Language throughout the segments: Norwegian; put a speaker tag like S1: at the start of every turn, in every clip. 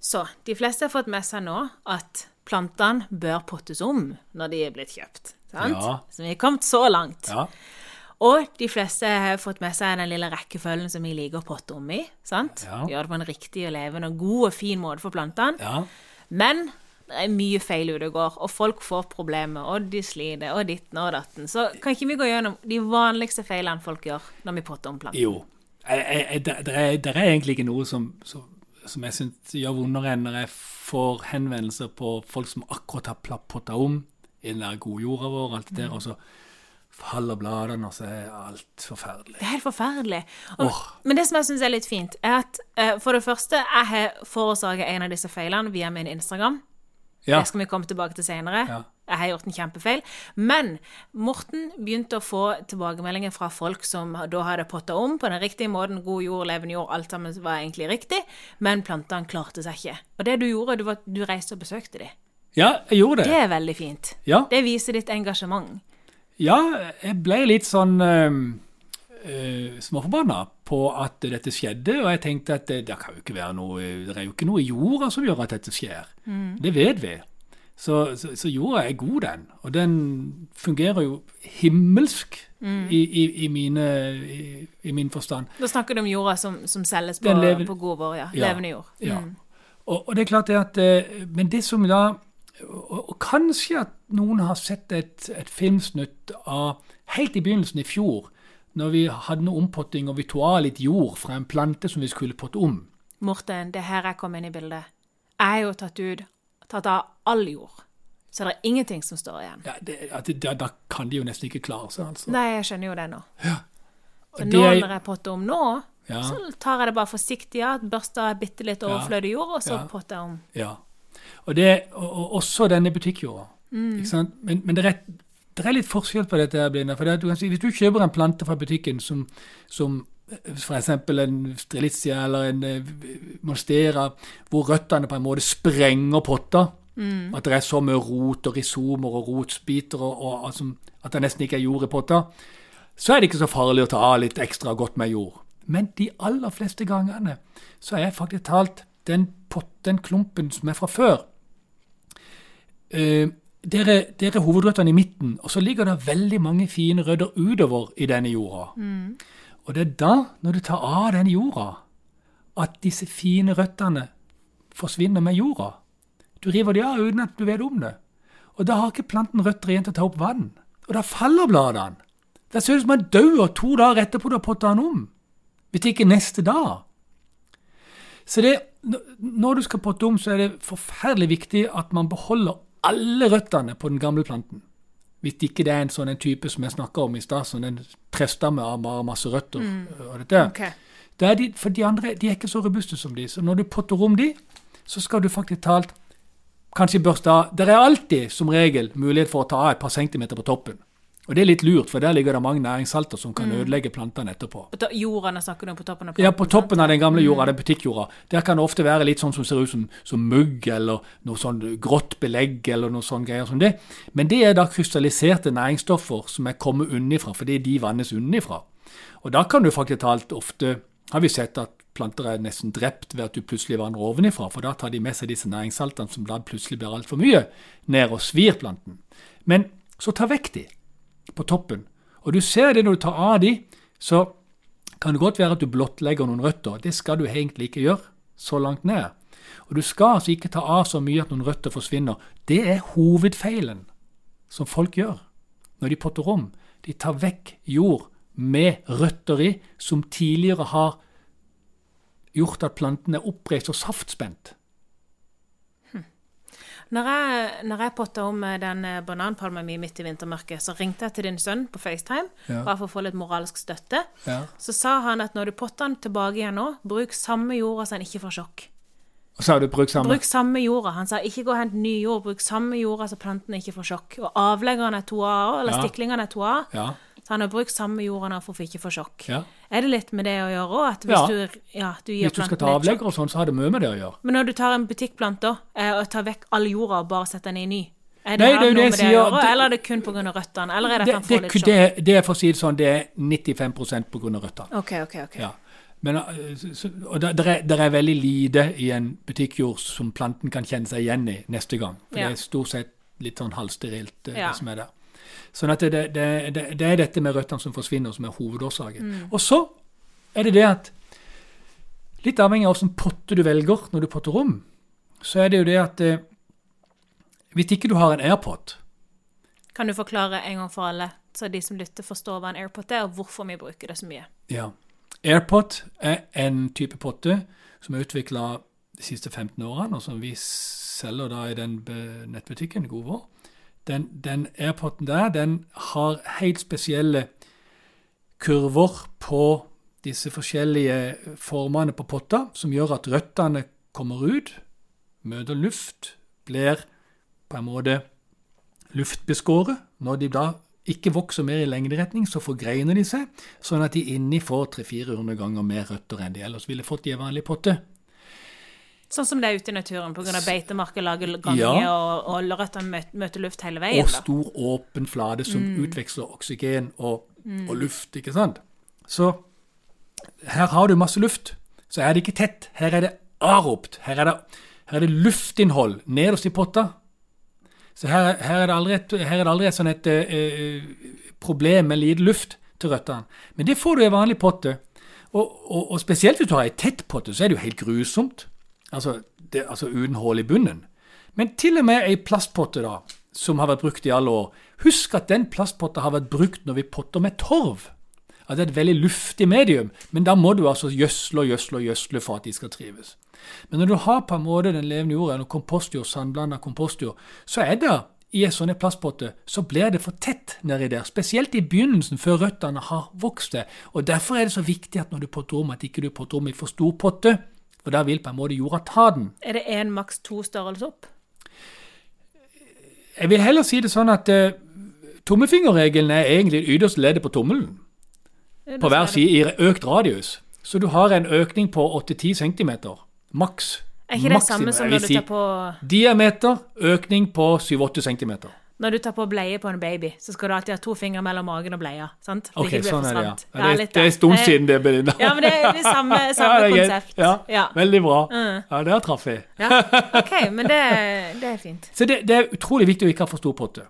S1: Så de fleste har fått med seg nå at plantene bør pottes om når de er blitt kjøpt. Sant?
S2: Ja.
S1: Så vi er kommet så langt.
S2: Ja.
S1: Og de fleste har fått med seg den lille rekkefølgen som vi liker å potte om i. sant?
S2: Ja.
S1: Gjør det på en riktig og levende og god og fin måte for plantene.
S2: ja.
S1: Men det er mye feil ute og går, og folk får problemer, og de sliter, og ditten og datten. Så kan ikke vi gå gjennom de vanligste feilene folk gjør når vi potter om planter?
S2: Jo. Jeg- jeg- jeg- Det det er, det er egentlig ikke noe som, som, som jeg syns gjør vondere enn når jeg får henvendelser på folk som akkurat har pla- potta om i den der godjorda vår, og alt det der, og så faller bladene, og så er alt forferdelig.
S1: Det er helt forferdelig. Og,
S2: Åh.
S1: Men det som jeg syns er litt fint, er at eh, for det første, jeg har forårsaka en av disse feilene via min Instagram.
S2: Ja.
S1: Det skal vi komme tilbake til senere.
S2: Ja.
S1: Jeg har gjort en kjempefeil. Men Morten begynte å få tilbakemeldinger fra folk som da hadde potta om på den riktige måten. God jord, levende jord, alt sammen var egentlig riktig. Men plantene klarte seg ikke. Og det du gjorde, du, var, at du reiste og besøkte dem.
S2: ja, jeg gjorde det.
S1: Det er veldig fint.
S2: Ja.
S1: Det viser ditt engasjement.
S2: Ja, jeg ble litt sånn eh, eh, småforbanna på at dette skjedde, og jeg tenkte at det, det kan jo ikke være noe Det er jo ikke noe i jorda som gjør at dette skjer. Det vet vi. Så, så, så jorda er god, den. Og den fungerer jo himmelsk i, i, i, mine, i, i min forstand.
S1: Da snakker du om jorda som, som selges på,
S2: Den lever-
S1: på god vår, ja.
S2: Ja.
S1: Levende jord. Mm.
S2: Ja. Og, og det er klart det at eh, Men det som da og, og kanskje at noen har sett et, et filmsnutt av helt i begynnelsen i fjor, når vi hadde noe ompotting og vi tok av litt jord fra en plante som vi skulle potte om.
S1: Morten, det er her jeg kom inn i bildet. Jeg har jo tatt ut tatt av all jord. Så det er ingenting som står igjen.
S2: Ja, det, at det, da, da kan de jo nesten ikke klare seg, altså.
S1: Nei, jeg skjønner jo det nå. Så
S2: Og
S1: nå
S2: det er-
S1: når jeg potter om nå,
S2: Ja.
S1: så tar jeg det bare forsiktig av, børster bitte litt overflødig jord, og så
S2: Ja.
S1: potter jeg om.
S2: Ja. Og, det, og, og også denne butikkjorda. Ikke sant? Men, men det, er, et- det er litt forskjell på dette. her, Blinda, for det at du kan si, Hvis du kjøper en plante fra butikken som, som f.eks. en strelitzia eller en eh, monstera, hvor røttene på en måte sprenger potta At det er så mye rot og risomer og rotsbiter og, og, altså, at det nesten ikke er jord i potta så er det ikke så farlig å ta av litt ekstra godt med jord. Men de aller fleste gangene så er jeg faktisk talt den, pott, den klumpen som er fra før eh, dere, dere hovedrøttene i midten, og så ligger det veldig mange fine rødder utover i denne jorda. Og det er da, når du tar av den jorda, at disse fine røttene forsvinner med jorda. Du river de av uten at du vet om det. Og da har ikke planten røtter igjen til å ta opp vann. Og da faller bladene. Det ser ut som han dør to dager etterpå du har potta han om. Hvis ikke neste dag. Så det, n- når du skal potte om, så er det forferdelig viktig at man beholder alle røttene på den gamle planten. Hvis ikke det er en sånn en type som jeg snakka om i stad, sånn en trestamme av bare masse røtter. og dette. Da er de, for de andre de er ikke så robuste som de, så når du potter om de, så skal du faktisk talt kanskje børste av. Det er alltid som regel mulighet for å ta av et par centimeter på toppen. Og det er litt lurt, for der ligger det mange næringssalter som kan ødelegge plantene etterpå.
S1: På to- Jorda nå snakker du om på toppen av
S2: Ja, på toppen av den gamle jorda, den butikkjorda, der kan det ofte være litt sånn som ser ut som, som mugg, eller noe sånn grått belegg, eller noe sånn greier som det. Men det er da krystalliserte næringsstoffer som er kommet unnifra, fordi de vannes unnifra. Og da kan du faktisk talt ofte, har vi sett at planter er nesten drept ved at du plutselig vanner ovenifra, for da tar de med seg disse næringssaltene som da plutselig blir altfor mye, ned og svir planten. Men så ta vekk de på toppen. Og du ser det når du tar av de, så kan det godt være at du blottlegger noen røtter. Det skal du egentlig ikke gjøre så langt ned. Og du skal altså ikke ta av så mye at noen røtter forsvinner. Det er hovedfeilen som folk gjør når de potter om. De tar vekk jord med røtter i som tidligere har gjort at planten er oppreist og saftspent.
S1: Når jeg, når jeg potta om eh, den eh, bananpalmen min midt i vintermørket, så ringte jeg til din sønn på FaceTime
S2: Ja.
S1: bare for å få litt moralsk støtte.
S2: Ja.
S1: Så sa han at når du potter den tilbake igjen nå, bruk samme jorda så han ikke får sjokk.
S2: Og så har du brukt samme
S1: Bruk samme jorda. Han sa ikke gå og hent ny jord, bruk samme jorda så plantene ikke får sjokk. Og avleggeren er to a eller
S2: Ja.
S1: stiklingene er to a
S2: Ja.
S1: Så han har brukt samme jorda nå for å ikke få sjokk.
S2: Ja.
S1: Er det litt med det å gjøre òg, at hvis
S2: Ja.
S1: du, ja, du gir
S2: Hvis du
S1: planten
S2: skal ta
S1: litt sjokk?
S2: avlegger og sånn, så har det mye med det å gjøre.
S1: Men når du tar en butikkplante eh, og tar vekk all jorda og bare setter den i ny, er det,
S2: Nei,
S1: her
S2: det er
S1: noe
S2: jo
S1: med
S2: det jeg
S1: det å
S2: sier,
S1: gjøre,
S2: det-
S1: eller er det kun pga. røttene? Eller er det at
S2: Det,
S1: han
S2: det,
S1: får litt
S2: det,
S1: sjokk?
S2: det, er for å si det sånn, det er 95 pga. røttene.
S1: OK, OK. ok.
S2: Ja. Men, eh, så, så- og der, der, er, der er veldig lite i en butikkjord som planten kan kjenne seg igjen i neste gang. For
S1: Ja.
S2: det er stort sett litt sånn halvsterilt eh,
S1: Ja.
S2: det som er der. Sånn at det, det, det, det- det er dette med røttene som forsvinner, som er hovedårsaken.
S1: Mm.
S2: Og så er det det at Litt avhengig av hvilken potte du velger når du potter om, så er det jo det at eh, hvis ikke du har en AirPod
S1: Kan du forklare en gang for alle, så de som lytter, forstår hva en airpod er, og hvorfor vi bruker det så mye?
S2: Ja. AirPod er en type potte som er utvikla de siste 15 årene, og som vi selger da i den be- nettbutikken Godvår. Den, den AirPoden der, den har helt spesielle kurver på disse forskjellige formene på potta, som gjør at røttene kommer ut, møter luft, blir på en måte luftbeskåret. Når de da ikke vokser mer i lengderetning, så forgreiner de seg, sånn at de inni får 300-400 ganger mer røtter enn de ellers ville fått i en vanlig potte.
S1: Sånn som det er ute i naturen pga. beitemarker, lager gange
S2: Ja.
S1: og, og røtter mø- møter luft hele veien.
S2: Og
S1: da.
S2: stor åpen flate som utveksler oksygen og, og luft, ikke sant? Så her har du masse luft, så er det ikke tett. Her er det aropt. Her er det, her er det luftinnhold nederst i potta. Så her, her, er det aldri et, her er det aldri et sånn et eh, eh, problem med lite luft til røttene. Men det får du i en vanlig potte. Og, og, og spesielt hvis du har ei tett potte, så er det jo helt grusomt. Altså, det, altså uten hull i bunnen. Men til og med ei plastpotte da, som har vært brukt i alle år Husk at den plastpotta har vært brukt når vi potter med torv. At det er et veldig luftig medium, men da må du altså gjødsle og gjødsle og gjødsle for at de skal trives. Men når du har på en måte den levende jorda, eller kompostjord, sandblanda kompostjord, så er det i en sånn plastpotte, så blir det for tett nedi der. Spesielt i begynnelsen, før røttene har vokst det. Og derfor er det så viktig at når du potter om, at ikke du potter om i for stor potte. For da vil på en måte jorda ta den.
S1: Er det én, maks to størrelser opp?
S2: Jeg vil heller si det sånn at eh, tommefingerregelen er egentlig det ytterste leddet på tommelen.
S1: Det er
S2: På
S1: det
S2: hver
S1: som er det.
S2: side i økt radius. Så du har en økning på 8-10 cm. Maks.
S1: Er ikke det
S2: Maksimum,
S1: samme som
S2: jeg vil
S1: når du,
S2: si
S1: tar på,
S2: Diameter, økning på 7-8 cm.
S1: når du tar på bleie på en baby? Så skal du alltid ha to fingre mellom magen og bleia. sant? For
S2: Ok,
S1: ikke det blir
S2: sånn
S1: for
S2: er det, ja.
S1: stramt.
S2: ja det,
S1: litt
S2: det er
S1: der.
S2: en stund
S1: Eh,
S2: siden det, Belinda.
S1: Ja, men det er det er samme, samme
S2: Ja, det er greit.
S1: konsept.
S2: Ja,
S1: Ja. Mm.
S2: Veldig bra. Ja, der traff jeg.
S1: ja. OK, men det, det er fint.
S2: Så det, det er utrolig viktig å ikke ha for stor potte.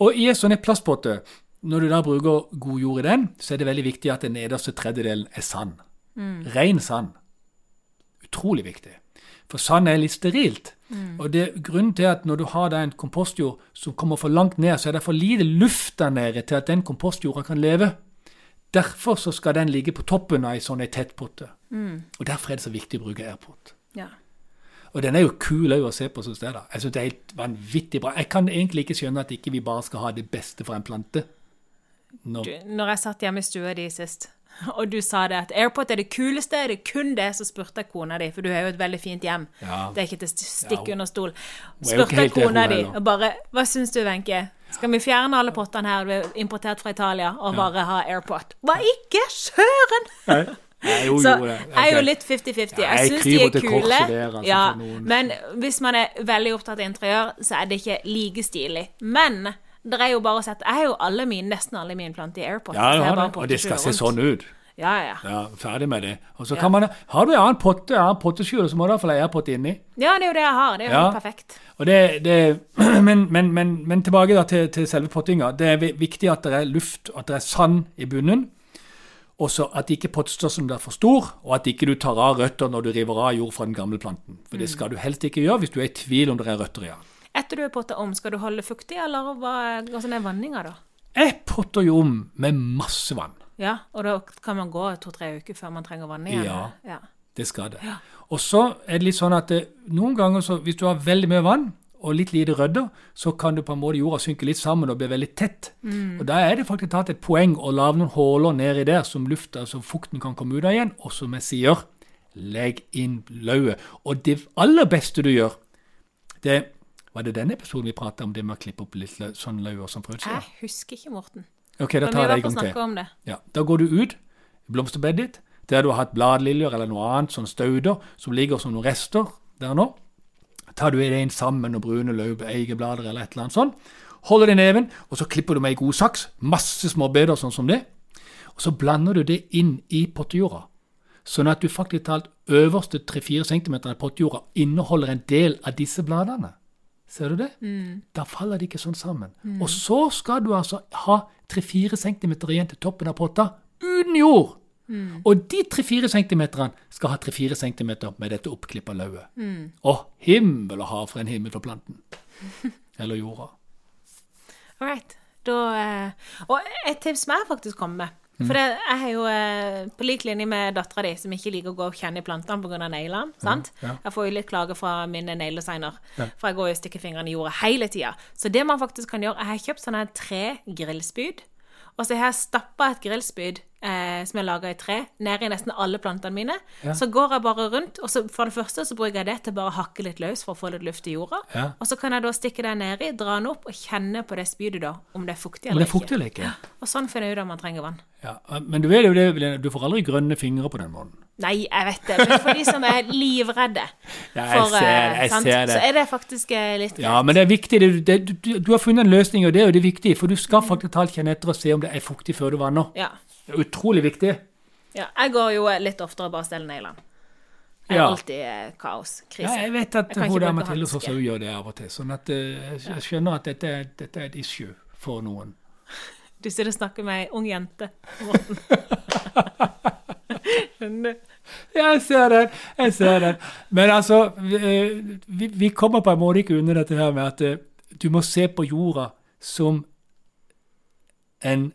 S2: Og i en sånn en plastpotte, når du da bruker god jord i den, så er det veldig viktig at den nederste tredjedelen er sand. Ren sand. Utrolig viktig. For sand er litt sterilt. Og det er grunnen til at når du har da en kompostjord som kommer for langt ned, så er det for lite luft der nede til at den kompostjorda kan leve. Derfor så skal den ligge på toppen av ei sånn ei tett potte. Og derfor er det så viktig å bruke airpot.
S1: Ja.
S2: Og den er jo kul også å se på som sted. da. Jeg synes det er helt vanvittig bra. Jeg kan egentlig ikke skjønne at ikke vi bare skal ha det beste for en plante. Nå-
S1: du, når jeg satt hjemme i stua di sist, og du sa det at airpod er det kuleste, er det kun det, så spurte jeg kona di, for du har jo et veldig fint hjem.
S2: Ja.
S1: Det er ikke til å st- stikke
S2: Ja,
S1: under stol.
S2: er jo ikke
S1: Spurte jeg
S2: helt det,
S1: kona
S2: hun
S1: di
S2: heller.
S1: og bare Hva syns du, Wenche? Skal vi fjerne alle pottene her vi har importert fra Italia, og bare ha airpod? Hva ikke? Søren!
S2: Nei, jo,
S1: Så
S2: jo, det.
S1: jeg er jo litt 50-50.
S2: Ja,
S1: Jeg
S2: jeg
S1: syns de
S2: kryper
S1: er
S2: til korset
S1: kule.
S2: der, altså,
S1: ja,
S2: for noen.
S1: men hvis man er veldig opptatt av interiør, så er det ikke like stilig. Men det er jo bare å sette Jeg har jo alle mine, nesten alle mine planter i AirPod.
S2: Ja,
S1: så jeg
S2: ja,
S1: bare
S2: det. Og det skal
S1: pottetur
S2: se
S1: rundt.
S2: sånn ut.
S1: Ja, ja.
S2: Ja, Ferdig med det. Og så
S1: Ja.
S2: kan man, Har du en annen potte, en annen potteskjul, så må du i hvert fall ha airpot inni.
S1: ja, det er jo det jeg har. Det er jo
S2: Ja.
S1: helt perfekt.
S2: Og det, det, men, men, men, men tilbake da til, til selve pottinga. Det er vi- viktig at det er luft, at det er sand i bunnen. Og så at ikke pottstørrelsen blir for stor, og at ikke du tar av røtter når du river av jord fra den gamle planten. For det skal du helst ikke gjøre hvis du er i tvil om det er røtter i den.
S1: Etter du er potta om, skal du holde fuktig, eller hva hvordan er sånn vanninga da?
S2: Jeg potter jo om med masse vann.
S1: Ja, og da kan man gå to-tre uker før man trenger vann igjen.
S2: Ja.
S1: ja.
S2: Det skal det. Og så er det litt sånn at eh, noen ganger, så, hvis du har veldig mye vann og litt lite rødder, så kan du på en måte jorda synke litt sammen og bli veldig tett.
S1: Mm.
S2: Og da er det faktisk tatt et poeng å lage noen huller nedi der som lufta, så fukten kan komme ut av igjen. Og som jeg sier, legg inn lauvet. Og det aller beste du gjør, det Var det den episoden vi prata om, det med å klippe opp litt lø, sånn lauv og sånn frøsida?
S1: Jeg husker ikke, Morten.
S2: Ok, da
S1: Men vi
S2: tar jeg det
S1: var på
S2: en
S1: å
S2: gang til.
S1: snakke om det.
S2: Ja, Da går du ut i blomsterbedet ditt, der du har hatt bladliljer eller noe annet, sånn stauder, som ligger som noen rester der nå. Tar du det inn sammen og brune løv, eigeblader eller et eller annet sånn. Holder det i neven, og så klipper du med ei god saks. Masse småbeder sånn som det. Og så blander du det inn i pottejorda. Sånn at du faktisk talt øverste 3-4 cm av pottjorda inneholder en del av disse bladene. Ser du det?
S1: Mm.
S2: Da faller de ikke sånn sammen. Og så skal du altså ha 3-4 cm igjen til toppen av potta uten jord!
S1: Mm.
S2: Og de 3-4 cm skal ha 3-4 cm med dette oppklippa lauvet.
S1: Mm.
S2: Og himmel og hav for en himmel for planten. Eller jorda.
S1: All right. Da, eh, og et tips som jeg faktisk kom med.
S2: Mm.
S1: For det, jeg har jo, eh, på lik linje med dattera di, som ikke liker å gå og kjenne i plantene pga. neglene. sant?
S2: ja.
S1: Jeg får jo litt klager fra mine negledesigner, for jeg går jo og stikker fingrene i jorda hele tida. Så det man faktisk kan gjøre Jeg har kjøpt sånne her tre grillspyd. Og så har jeg stappa et grillspyd eh, som jeg laga i tre, nedi nesten alle plantene mine.
S2: Ja.
S1: Så går jeg bare rundt, og så for det første så bruker jeg det til bare å hakke litt løs for å få litt luft i jorda.
S2: Ja.
S1: Og så kan jeg da stikke den nedi, dra den opp og kjenne på det spydet da, om det er fuktig
S2: Men
S1: eller
S2: det er fuktig eller ikke?
S1: ikke. Og sånn finner jeg ut om man trenger vann.
S2: Ja, men du vet jo det, Lene, du får aldri grønne fingre på den måten.
S1: Nei, jeg vet det, men for de som er livredde
S2: Ja, jeg
S1: for,
S2: ser
S1: eh,
S2: det, jeg
S1: sant,
S2: ser det.
S1: så er det faktisk eh, litt
S2: Ja, men det er viktig. Det, det, du, du har funnet en løsning, og det er jo det viktige. For du skal faktisk talt kjenne etter og se om det er fuktig før du vanner.
S1: ja.
S2: Det er utrolig viktig.
S1: ja. Jeg går jo eh, litt oftere bare og steller neglene. Det er
S2: Ja.
S1: alltid eh, kaos.
S2: Ja,
S1: Krise.
S2: jeg vet at
S1: Jeg kan ikke
S2: hun der
S1: bruke
S2: Mathilde
S1: hanske.
S2: Forsau gjør det av og til. Sånn at eh, jeg- jeg skjønner at dette, er- dette er et issue for noen.
S1: Du sitter og snakker med ei ung jente. Morten. Skjønner du?
S2: Jeg ser den, jeg ser den. Men altså, eh, vi, vi kommer på en måte ikke unna dette her med at eh, du må se på jorda som en,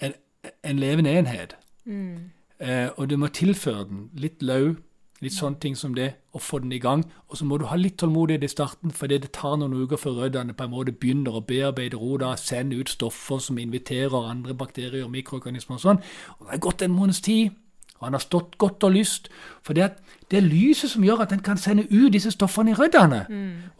S2: en, en levende enhet.
S1: Mm.
S2: Eh, og du må tilføre den litt løv, litt sånne ting som det, og få den i gang. Og så må du ha litt tålmodighet i starten, for det tar noen uker før røddene på en måte begynner å bearbeide roda, sende ut stoffer som inviterer andre bakterier og mikroorganismer og sånn. Og det er gått en måneds tid, og han har stått godt og lyst. For det er, det er lyset som gjør at en kan sende ut disse stoffene i røddene.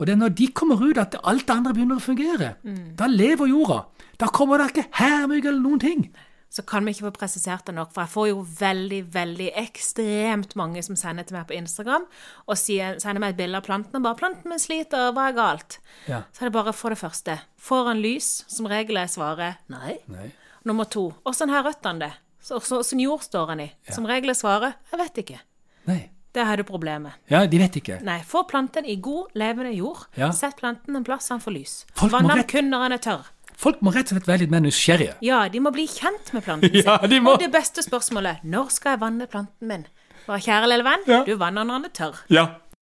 S2: Og det er når de kommer ut at alt det andre begynner å fungere. Da lever jorda. Da kommer det ikke hermygg eller noen ting.
S1: så kan vi ikke få presisert det nok, for jeg får jo veldig, veldig ekstremt mange som sender til meg på Instagram og sier, sender meg et bilde av planten og bare 'Planten min sliter, hva er galt?'
S2: Ja.
S1: Så er det bare for det første Får han lys? Som regel er svaret nei.
S2: Nei.
S1: Nummer to Åssen har røttene det? Så- så- Åssen jord står han i? Som regel er svaret 'Jeg vet ikke'.
S2: Nei.
S1: Der har du problemet.
S2: Ja, de vet ikke.
S1: Nei, få planten i god, levende jord.
S2: Ja.
S1: Sett planten en plass han får lys.
S2: Folk må
S1: Vann den
S2: rett-
S1: kun når han er tørr.
S2: Folk må rett og slett være litt mer nysgjerrige.
S1: Ja, de må bli kjent med planten sin.
S2: Ja, de må.
S1: Og det beste spørsmålet når skal jeg vanne planten min? Bare kjære lille venn,
S2: Ja.
S1: du vanner når den er tørr.
S2: Ja.